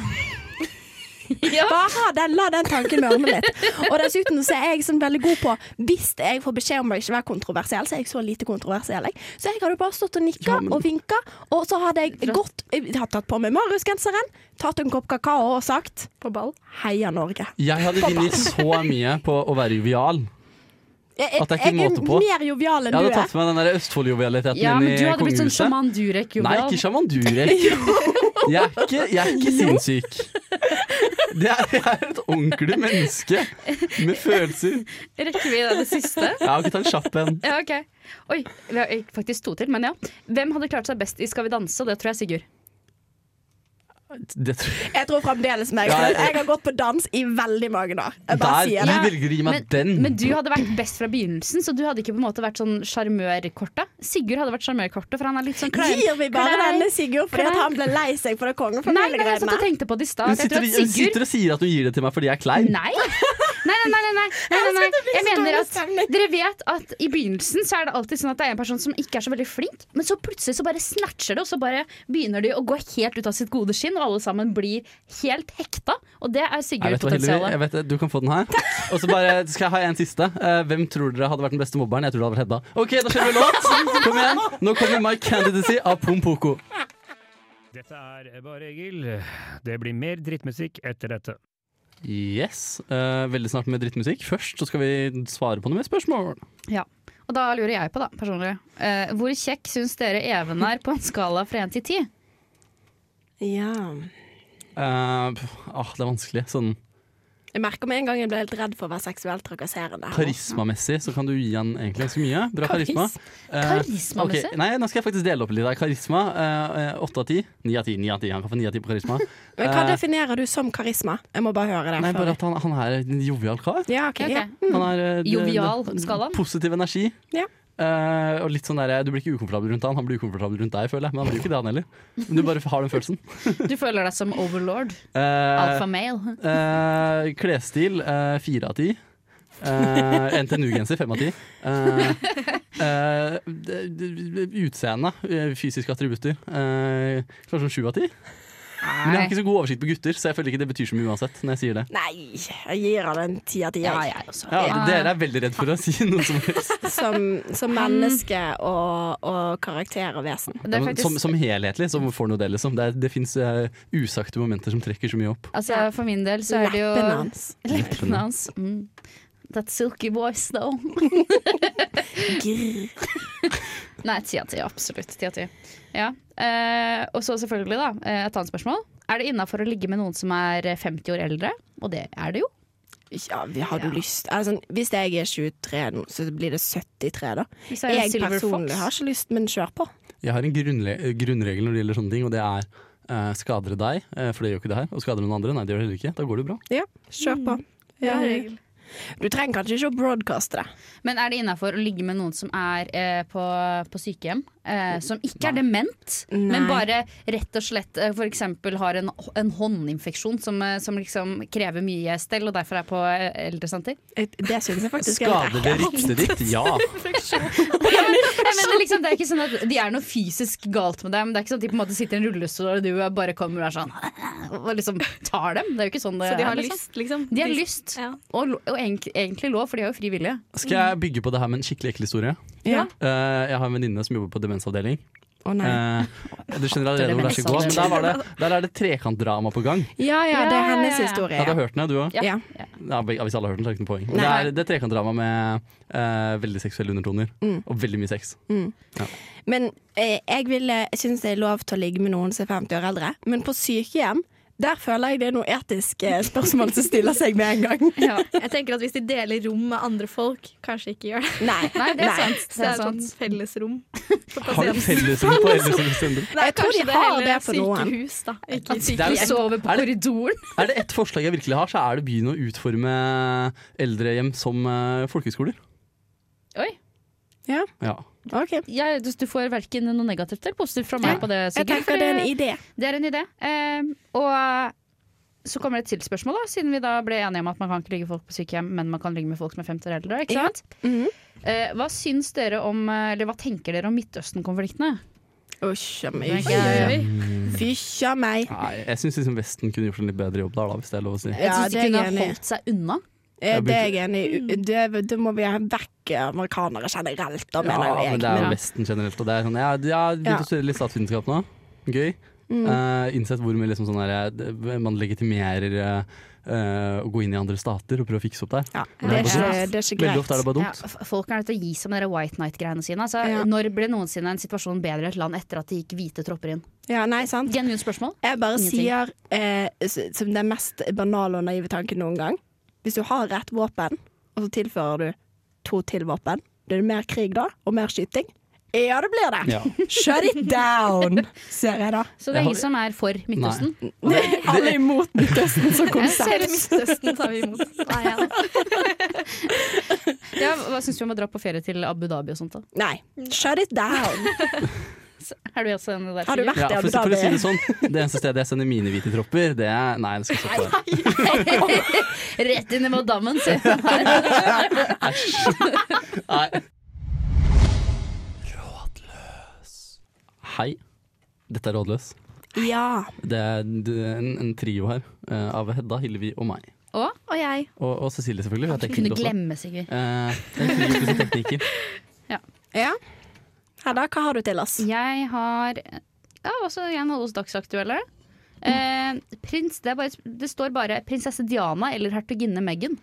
F: Bare ha den, la den tanken mørne litt. Og dessuten så er jeg sånn veldig god på Hvis jeg får beskjed om å ikke være kontroversiell, så er jeg så lite kontroversiell. Jeg. Så jeg hadde bare stått og nikka
A: Ja, men-
F: og vinka, og så hadde jeg gått Jeg hadde tatt på meg Marius-genseren, tatt en kopp kakao og sagt
G: På ball.
F: Heia Norge.
A: Jeg hadde vunnet så mye på å være jovial.
F: Jeg, jeg,
A: At det er ikke
F: jeg
A: måte på.
F: mer jovial
A: Jeg
F: enn
A: hadde
F: du
A: tatt
F: er.
A: med den der Østfold-jovialiteten
D: Ja,
A: inn
D: men du
A: i
D: hadde blitt sånn
A: kongehuset.
D: sjaman Durek.
A: Nei,
D: jovial.
A: ikke sjaman Durek. Jeg er ikke, jeg er ikke sinnssyk. Det er, jeg er et ordentlig menneske med følelser.
D: Rekker vi det, det siste?
A: Jeg har ikke tatt en kjapp en.
D: Ja, ok. Oi, vi har eh, faktisk to til, men ja. Hvem hadde klart seg best i 'Skal vi danse'? Det tror jeg er Sigurd.
A: Det tror jeg.
F: Jeg tror fremdeles meg.
A: Ja, jeg-
F: Jeg har gått på dans i veldig mange år. Jeg
A: Der,
F: bare sier det.
A: du velger å gi meg
D: Men,
A: den.
D: men du hadde vært best fra begynnelsen, så du hadde ikke på en måte vært sånn sjarmørkortet. Sigurd hadde vært sjarmørkortet, for han er litt sånn klein.
F: Gir vi bare
D: klein.
F: denne Sigurd fordi
D: Klein.
F: at han ble lei seg for det
D: Nei, nei, jeg satt og
F: kongefamiliegreiene?
D: tenkte på det i stad.
A: Hun
D: at Jeg
A: sitter,
D: tror at
A: hun
D: Sigurd
A: sitter og sier at hun gir det til meg fordi jeg er klein.
D: Nei. Nei, nei, nei. nei, nei, nei, nei,
F: elsker at det blir
D: Jeg
F: så
D: mener
F: dårlig
D: at
F: stemning.
D: Dere vet at i begynnelsen så er det alltid sånn at det er en person som ikke er så veldig flink, men så plutselig så bare snatcher det, og så bare begynner de å gå helt ut av sitt gode skinn, og alle sammen blir helt hekta. Og det er
A: Jeg vet, hva, Hillevi, jeg
D: Sigurd-potensialet.
A: vet, det. du kan få den her. Og så bare skal jeg ha en siste. Eh, hvem tror dere hadde vært den beste mobberen? Jeg tror det hadde vært Hedda. Ok, da kjører vi låt! Kom igjen. Nå kommer My Candidacy av Pompoko.
I: Dette er Bare Egil. Det blir mer drittmusikk etter dette.
A: Yes. eh, veldig snart med drittmusikk. Først så skal vi svare på noen mer spørsmål.
D: Og da lurer jeg på, da, personlig, eh, hvor kjekk syns dere Even er på en skala fra 1 til 10?
F: Ja.
A: Eh, pff, ah, det er vanskelig. Sånn
F: Jeg merker med en gang jeg ble helt redd for å være seksuelt trakasserende. her nå.
A: Karismamessig så kan du gi han egentlig ganske mye. Bra karisma. Eh,
D: Karismamessig?
A: ok, Nei, nå skal jeg faktisk dele opp litt her. Karisma eh, eh, åtte av ti. Ni av ti, ni av ti. Han kan få ni av ti på karisma.
F: Men hva
A: Eh,
F: definerer du som karisma? Jeg må bare høre det.
A: Nei,
F: før
A: bare
F: jeg-
A: at han, han er en jovial kar.
F: Ja, ok.
D: Ok,
F: Ja.
A: Han er eh, det-
D: Jovial
A: det-
D: skalaen.
A: Positiv energi.
F: Ja.
A: Eh, og litt sånn der, Du blir ikke ukomfortabel rundt han, han blir ukomfortabel rundt deg, føler jeg. Men han blir jo ikke det, han heller. Men du bare har den følelsen.
D: Du føler deg som overlord.
A: Uh,
D: Alfa male.
A: Eh, klesstil eh, fire av ti. Eh, NTNU-genser fem av ti. Eh, eh, d- d- d- utseende, eh, fysiske attributter. Eh, kanskje sånn sju av ti. Men jeg har ikke så god oversikt på gutter, så jeg føler ikke det betyr så mye uansett. når jeg sier det
F: Nei, jeg gir han en ti av ti.
D: Ja, altså.
F: jeg.
D: jeg også.
A: ja,
D: Ja.
A: Dere er veldig redd for å si noe som helst.
F: Som, som menneske og, og karakter og vesen.
D: Det
A: Ja,
D: er
A: men
D: faktisk-
A: som, som helhetlig, som får noe det, liksom. Det, er- det fins usagte momenter som trekker så mye opp.
D: Altså, for min del så er det jo
F: Leppene hans.
D: Leppene hans. Mm. That silky voice, though.
F: Grr.
D: Nei, ti av ti. Absolutt. Ti av ti. Ja. Eh, og så selvfølgelig, da, eh, et annet spørsmål. Er det innafor å ligge med noen som er 50 år eldre? Og det er det jo.
F: Ja, vi har du
D: Ja.
F: lyst altså, Hvis jeg er 23 nå, så blir det 73, da.
D: Hvis det er en
F: Jeg
D: silver
F: personlig
D: fox.
F: har ikke lyst, men kjør på.
A: Jeg har en grunnle grunnregel når det gjelder sånne ting, og det er eh, skader det deg, eh, for det gjør jo ikke det her, og skader det noen andre, nei det gjør det heller ikke, da går det jo bra.
F: Ja,
D: Mm.
F: kjør på.
G: Bra
F: Ja,
G: regel.
F: Du trenger kanskje ikke å broadcaste det.
D: Men er det innafor å ligge med noen som er eh, på, på sykehjem, eh, som ikke er dement, men
F: Nei.
D: bare rett og slett eh, f.eks. har en, en håndinfeksjon som, eh, som liksom krever mye stell og derfor er på eh, eldresenter?
F: Det synes jeg faktisk er
A: Skader det ryktet ditt? Ja.
D: Jeg mener liksom, Det er ikke sånn at de er noe fysisk galt med dem. Det er ikke sånn at de på en måte sitter i en rullestol og du bare kommer og er sånn og liksom tar dem. Det er jo ikke sånn det
G: Så de har
D: er. liksom.
G: lyst, liksom?
D: De har lyst,
G: Ja.
D: og, lo- og egentlig, egentlig lov, for de har jo fri vilje.
A: Skal jeg bygge på det her med en skikkelig ekkel historie?
F: Ja.
A: Eh, jeg har en venninne som jobber på demensavdeling.
F: Å, nei.
A: Eh, du skjønner allerede hvor det skal gå, men der, var det, der er det trekantdrama på gang.
F: Ja, ja, det
D: Ja,
F: er hennes
D: ja, ja.
F: historie.
A: Ja, du har hørt den, ja, du òg?
D: Ja.
F: Ja.
A: Ja, hvis alle har hørt den, så er det ikke noe poeng. Men det
F: Nei.
A: er, det er trekantdrama med eh, veldig seksuelle undertoner, og veldig mye sex.
F: Men eh, jeg, ville, jeg synes det er lov til å ligge med noen som er 50 år eldre, men på sykehjem der føler jeg det er noe etisk eh, spørsmål som stiller seg med en gang.
G: Jeg tenker at hvis de deler rom med andre folk, kanskje ikke gjør det.
F: Nei,
D: Nei, det er sant.
G: Så det er sånn fellesrom. for
A: Har du
G: pasienten.
A: fellesrom på eldresenteret?
G: Nei,
F: Jeg tror
G: kanskje
F: de har
G: heller
F: det på noen.
G: Sykehus, da. Ikke i
A: Det er jo-
D: De
G: sykehjem.
D: sover på
A: Er det-
D: korridoren.
A: Er det ett forslag jeg virkelig har, så er det å begynne å utforme eldrehjem som eh, folkehøyskoler.
D: Oi.
A: Ja.
F: ok.
D: jeg, du, du får verken noe negativt eller positivt fra meg på det.
F: Jeg
D: Sigurd, for
F: tenker det er en idé.
D: det er en idé. Ehm, og så kommer det et til spørsmål, da, siden vi da ble enige om at man kan ikke ligge folk på sykehjem, men man kan ligge med folk som er 50 år eldre. Ikke
F: Ja. Mhm.
D: sant? Eh, hva syns dere om, eh, eller hva tenker dere om Midtøsten-konfliktene?
F: Usj a
D: Oi,
F: meg.
D: oi, oi.
F: Fysj a meg.
A: Nei, jeg syns liksom Vesten kunne gjort en litt bedre jobb der, da, hvis det er lov å si.
D: Jeg
F: Ja,
D: syns de
F: det er
D: kunne
F: jeg enig i.
D: holdt seg unna.
F: Eh, Det er jeg enig i. Det- Da må vi ha vekk eh, amerikanere generelt,
A: Ja,
F: da mener jo jeg.
A: men det er jo
F: Men-
A: Vesten generelt. Og det er sånn, jeg, jeg har begynt
F: Ja.
A: å
F: Mm.
A: studere litt statsvitenskap nå. Gøy. Eh, innsett hvor mye liksom sånn der, det- man legitimerer eh, eh, å gå inn i andre stater og prøve å fikse opp der.
F: Ja,
A: Men det
F: det er
A: er
F: ikke, det er ikke
A: Veldig ofte er det
F: greit. altså,
A: bare
D: Ja,
A: dumt.
D: f- folk er nødt til å gi seg med de White Night-greiene sine. Altså,
F: Ja.
D: Når ble noensinne en situasjon bedre i et land etter at det gikk hvite tropper inn?
F: Ja, nei, sant.
D: Genuint spørsmål.
F: Jeg bare
D: Ingenting.
F: sier eh, s- som den mest banale og naive tanken noen gang. Hvis du har rett våpen, og så tilfører du to til våpen, blir det mer krig da, og mer skyting? Ja, det blir det!
A: Ja.
F: Shut it down, ser jeg da.
D: Så det
A: Jeg har-
D: er ingen som er for Midtøsten.
F: Alle imot Midtøsten som konsept.
G: Hele Midtøsten tar vi imot. Nei, ja.
D: Ja, hva syns du om å dra på ferie til Abu Dhabi og sånt? da?
F: Nei, shut it down.
D: Er du også en der?
F: Har du
D: Sigurd?
F: vært
A: Ja,
F: i
A: for, for
F: Abu
A: å si
F: Dhabi?
A: det sånn, det eneste stedet jeg sender mine hvite tropper, det er Nei, det skal jeg stoppe der.
D: Rett inn i madammen, se.
A: Nei. Rådløs. Hei. Dette er Rådløs.
F: Ja.
A: Det er d- en, en trio her eh, av Hedda, Hillevi og meg.
G: Og jeg.
A: Og, og Cecilie, selvfølgelig. hun er
D: Kunne
A: tekniker også.
D: glemme, Sigurd.
A: Eh, en trio pluss en tekniker.
F: ja. Hedda, hva har du til oss?
D: Jeg har ja, også en av hos Dagsaktuelle. Eh, prins, det, er bare, det står bare prinsesse Diana eller hertuginne Meghan.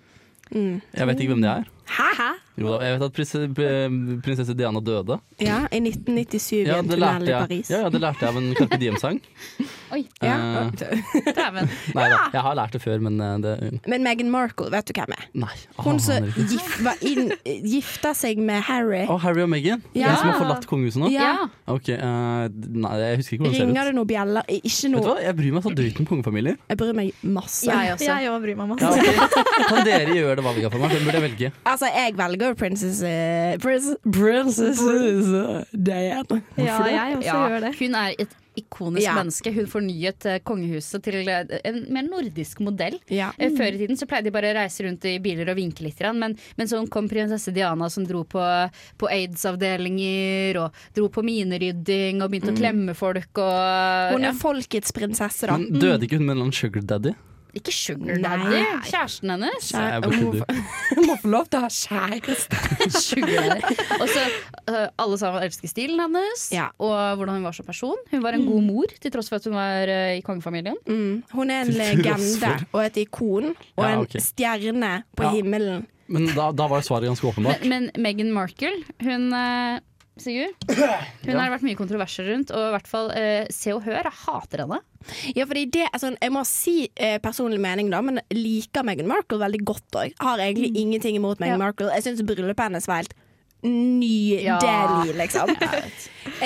A: Jeg vet ikke hvem det er.
F: Hæ?
A: Jo da, jeg vet at prins, p- prinsesse Diana døde.
F: Ja, i 1997 i en
A: det
F: tunnel
A: lærte
F: i
A: jeg,
F: Paris.
A: ja, ja, det lærte jeg av en Carpe Diem-sang.
D: Oi,
A: Eh,
D: dæven.
A: nei da, jeg har lært det før, men eh, det
F: Men Meghan Markle, vet du hvem er?
A: Nei.
F: Hun som
A: aner ikke.
F: gif, var inn- gifta seg med Harry.
A: Å, Harry og Meghan?
F: Ja.
A: Den som har forlatt kongehuset nå?
D: Ja.
A: Ok, eh, Nei, jeg husker ikke hvordan det
F: Ringer
A: ser ut.
F: det noen bjeller? Ikke
A: Vet du
F: noe.
A: hva, Jeg bryr meg så drøyt om kongefamilier.
F: Jeg bryr meg masse.
D: Jeg også.
G: Jeg òg bryr meg masse.
A: Ja, ok. Kan dere gjøre det valget for meg? Hvem burde jeg velge?
F: Altså, jeg velger Princess eh, Prince- Princess eh, Diana.
G: Ja, jeg også
D: Ja,
G: gjør det.
D: Hun er et ikonisk
F: Ja.
D: menneske. Hun fornyet eh, kongehuset til eh, en mer nordisk modell.
F: Ja.
D: Eh, Før i tiden så pleide de bare å reise rundt i biler og vinke litt, grann, men, men så kom prinsesse Diana som dro på, på aids-avdelinger og dro på minerydding og
F: Mm.
D: begynte å klemme folk og
F: Hun
D: ja.
F: er folkets prinsesse, da.
A: Men Døde ikke hun med en eller annen sugar daddy?
D: Ikke sugar daddy,
F: Nei.
D: kjæresten hennes.
A: Nei, jeg bare kødder.
F: Hun må få lov til å ha kjæreste.
D: Sugar daddy. Og så eh, alle sammen elsker stilen hennes
F: Ja.
D: og hvordan hun var som person. Hun var en god mor til tross for at hun var eh, i kongefamilien.
F: Mm. Hun er en
A: Til tross
F: legende og et ikon og
A: Ja,
F: en
A: ok.
F: stjerne på
A: Ja.
F: himmelen.
A: Men da, da var svaret ganske åpenbart.
D: Men, men Meghan Markle, hun eh, Sigurd? Hun har det vært mye kontroverser rundt, og i hvert fall eh, Se og Hør jeg hater henne.
F: Ja, fordi det, altså, jeg må si eh, personlig mening, da, men liker Meghan Markle veldig godt òg. Har egentlig ingenting imot Meghan Markle. Jeg syns bryllupet hennes var helt
D: Ja.
F: nydelig, liksom.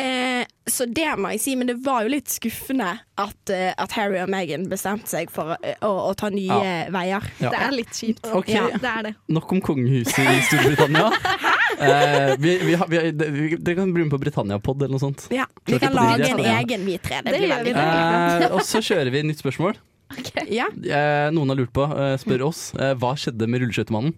F: eh, så det må jeg si, men det var jo litt skuffende at, eh, at Harry og Meghan bestemte seg for eh, å, å ta nye veier.
A: Ja.
G: Det er litt kjipt.
A: Ok.
G: Ja, det er det.
A: Nok om kongehuset i Storbritannia. Eh, vi, vi, har- vi, har- det- vi, dere kan bli med på Britannia-pod eller noe sånt.
F: Ja.
A: Hørte
F: Vi kan
A: på de
F: lage
A: der,
F: en
A: ja.
F: egen, vi tre. Det,
G: Det
F: blir
G: gjør vi.
F: veldig gøy.
A: Eh, og så kjører vi et nytt spørsmål.
F: Ja.
A: Eh, noen har lurt på, eh, spør oss, eh, hva skjedde med rulleskøytemannen?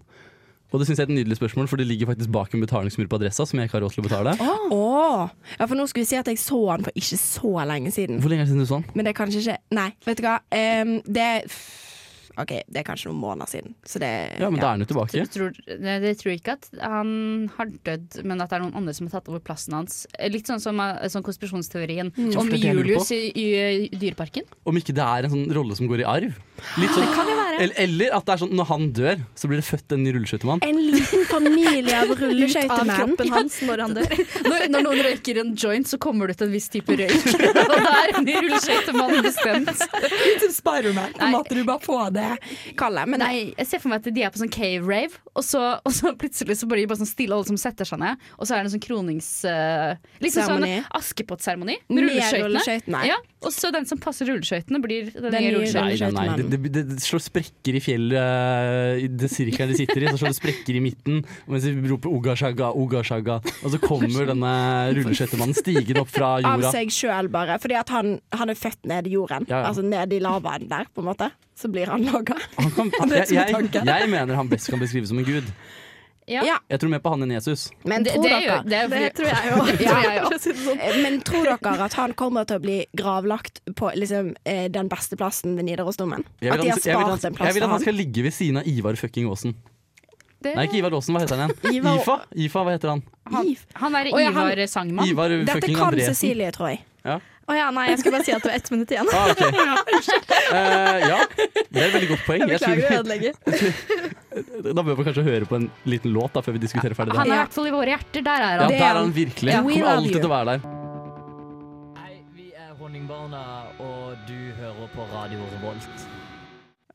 A: Og det synes jeg er et nydelig spørsmål, for det ligger faktisk bak en betalingsmur på adressa som jeg ikke har råd til å betale.
F: Åh. ja, for nå skulle vi si at jeg så han for ikke så lenge siden.
A: Hvor lenge er det siden du sånn? så den?
F: Men det er kanskje ikke Nei, vet du hva. Em, det OK, det er kanskje noen måneder siden, så det
A: Ja, men da er den jo tilbake.
D: Tror, det, det tror jeg ikke at han har dødd, men at det er noen andre som har tatt over plassen hans. Eh, Litt sånn som eh, sånn konspirasjonsteorien
F: Mm.
D: om
A: det er det jeg lurer
D: Julius i, i, eh, Dyreparken.
A: Om ikke det er en sånn rolle som går i arv. Litt sånn, eller, eller at det er sånn når han dør, så blir det født en ny rulleskøytemann.
F: En liten familie av
G: Av
F: rulleskøytemenn.
G: kroppen hans når han dør.
D: Når, når noen røyker en joint, så kommer det ut en viss type røyk. og da er en rulleskøytemann bestemt.
F: Til Spiderman. Nå
D: Nei.
F: måtte du bare få det kallet. Men nei.
D: Nei, jeg ser for meg at de er på sånn cave rave, og så, og så plutselig så blir de bare sånn stille alle som setter seg ned, og så er det en sånn kronings... eh, liksom
F: Seremoni.
D: sånn Askepott-seremoni
F: Med
D: med rulleskøytene.
F: rulleskøytene.
D: Ja, og så den som passer rulleskøytene, blir den,
F: Den nye
D: nye
A: Nei,
D: rulleskøyten.
A: nei, nei. Det, det, det slår sprekker i fjellet, eh, i det sirkelen de sitter i. Så slår det sprekker i midten, og mens de roper 'Uga shaga, uga shaga', og så kommer denne rulleskøytemannen stigende opp fra
F: Av
A: jorda.
F: seg sjøl, bare. Fordi at han, han er født ned i jorden.
A: Ja, ja.
F: Altså ned i lavaen der, på en måte. Så blir han laga.
A: Han kan,
F: Det er
A: jeg,
F: som er
A: jeg,
F: tanken.
A: jeg mener han best kan beskrives som en gud.
D: Ja.
F: Ja.
A: Jeg tror mer på han enn Jesus.
F: Men
D: Det,
F: tror
D: det, er jo-
F: dere
D: det, er jo
G: Det
D: fordi-
G: tror jeg òg.
F: Ja.
G: For å si det sånn.
F: Men tror dere at han kommer til å bli gravlagt på liksom, eh, den beste plassen ved Nidarosdomen?
A: Jeg
F: At
A: vil,
F: de
A: han,
F: har
A: jeg, vil han,
F: spart en
A: jeg
F: plass
A: vil
F: for
A: at han
F: han?
A: skal ligge ved siden av Ivar fucking Aasen.
D: det-
A: Nei, ikke Ivar Aasen, hva heter han igjen?
F: Ivar-
A: Ifa? Ifa, hva heter han?
D: han, han er
F: Å, ja, han-
D: Ivar Sangmann.
A: Ivar
F: Dette
A: fucking
F: kan
A: Andresen.
F: Cecilie, tror jeg.
G: Å ja, nei, jeg skulle bare si at du har ett minutt igjen.
A: Ah, ok. Eh, ja, det er et veldig godt poeng. Jeg
G: Beklager å
A: tror,
G: ødelegge.
A: da bør vi kanskje høre på en liten låt da, før vi diskuterer ferdig det
D: Han
A: her.
D: er i hvert fall i våre hjerter, der er
A: Ja,
D: han.
A: der er han virkelig.
F: Ja.
A: Han
F: We
A: kommer
F: love
A: alltid
F: you.
A: til å være der.
J: Hei, vi er Honningbarna, og du hører på Radio Revolt.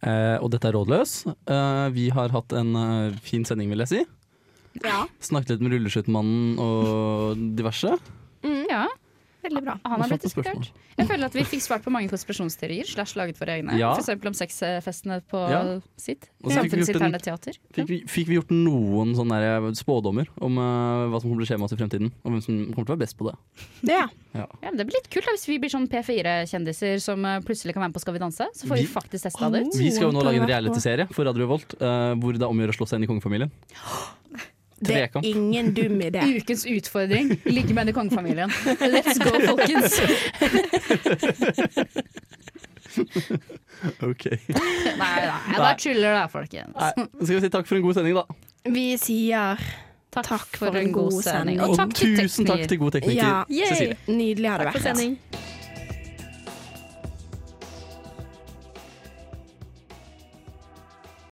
A: Eh, og dette er Rådløs. Eh, vi har hatt en eh, fin sending, vil jeg si. Snakket litt med rulleskøytemannen og diverse.
D: Ja,
G: Veldig bra.
A: Og
D: han har blitt
A: flotte spørsmål.
D: diskutert. Jeg føler at vi fikk svart på mange konspirasjonsteorier, slash laget våre egne.
A: Ja.
D: For eksempel om sexfestene på
A: Ja.
D: sitt.
A: Og så fikk vi gjort en-
D: Samfunnsinterne teater.
A: Fikk vi, fikk vi gjort noen sånne der spådommer om eh, hva som kommer til å skje med oss i fremtiden? Og hvem som kommer til å være best på det?
F: Ja.
D: Ja, men det blir litt kult da, hvis vi blir sånn P4-kjendiser som eh, plutselig kan være med på Skal vi danse. Så får vi,
A: Vi-
D: faktisk testa det ut.
A: Vi skal jo nå
F: Håper
A: lage en
F: jeg på.
A: realityserie for Radio Revolt eh, hvor det er omgjør å slå seg inn i kongefamilien.
F: Det er
A: Trekamp.
F: ingen dum idé.
D: Ukens utfordring ligger med i kongefamilien. Let's go, folkens!
A: Ok.
D: Nei, nei, jeg bare tuller da, folkens.
A: Nei, så skal vi si takk for en god sending, da.
F: Vi sier
D: Takk, for en god sending. Og
A: Og
D: takk til
A: tusen takk
D: tekniker.
A: til god tekniker
F: ja.
A: Cecilie.
F: Nydelig har det
G: Takk for
F: vært.
G: sending.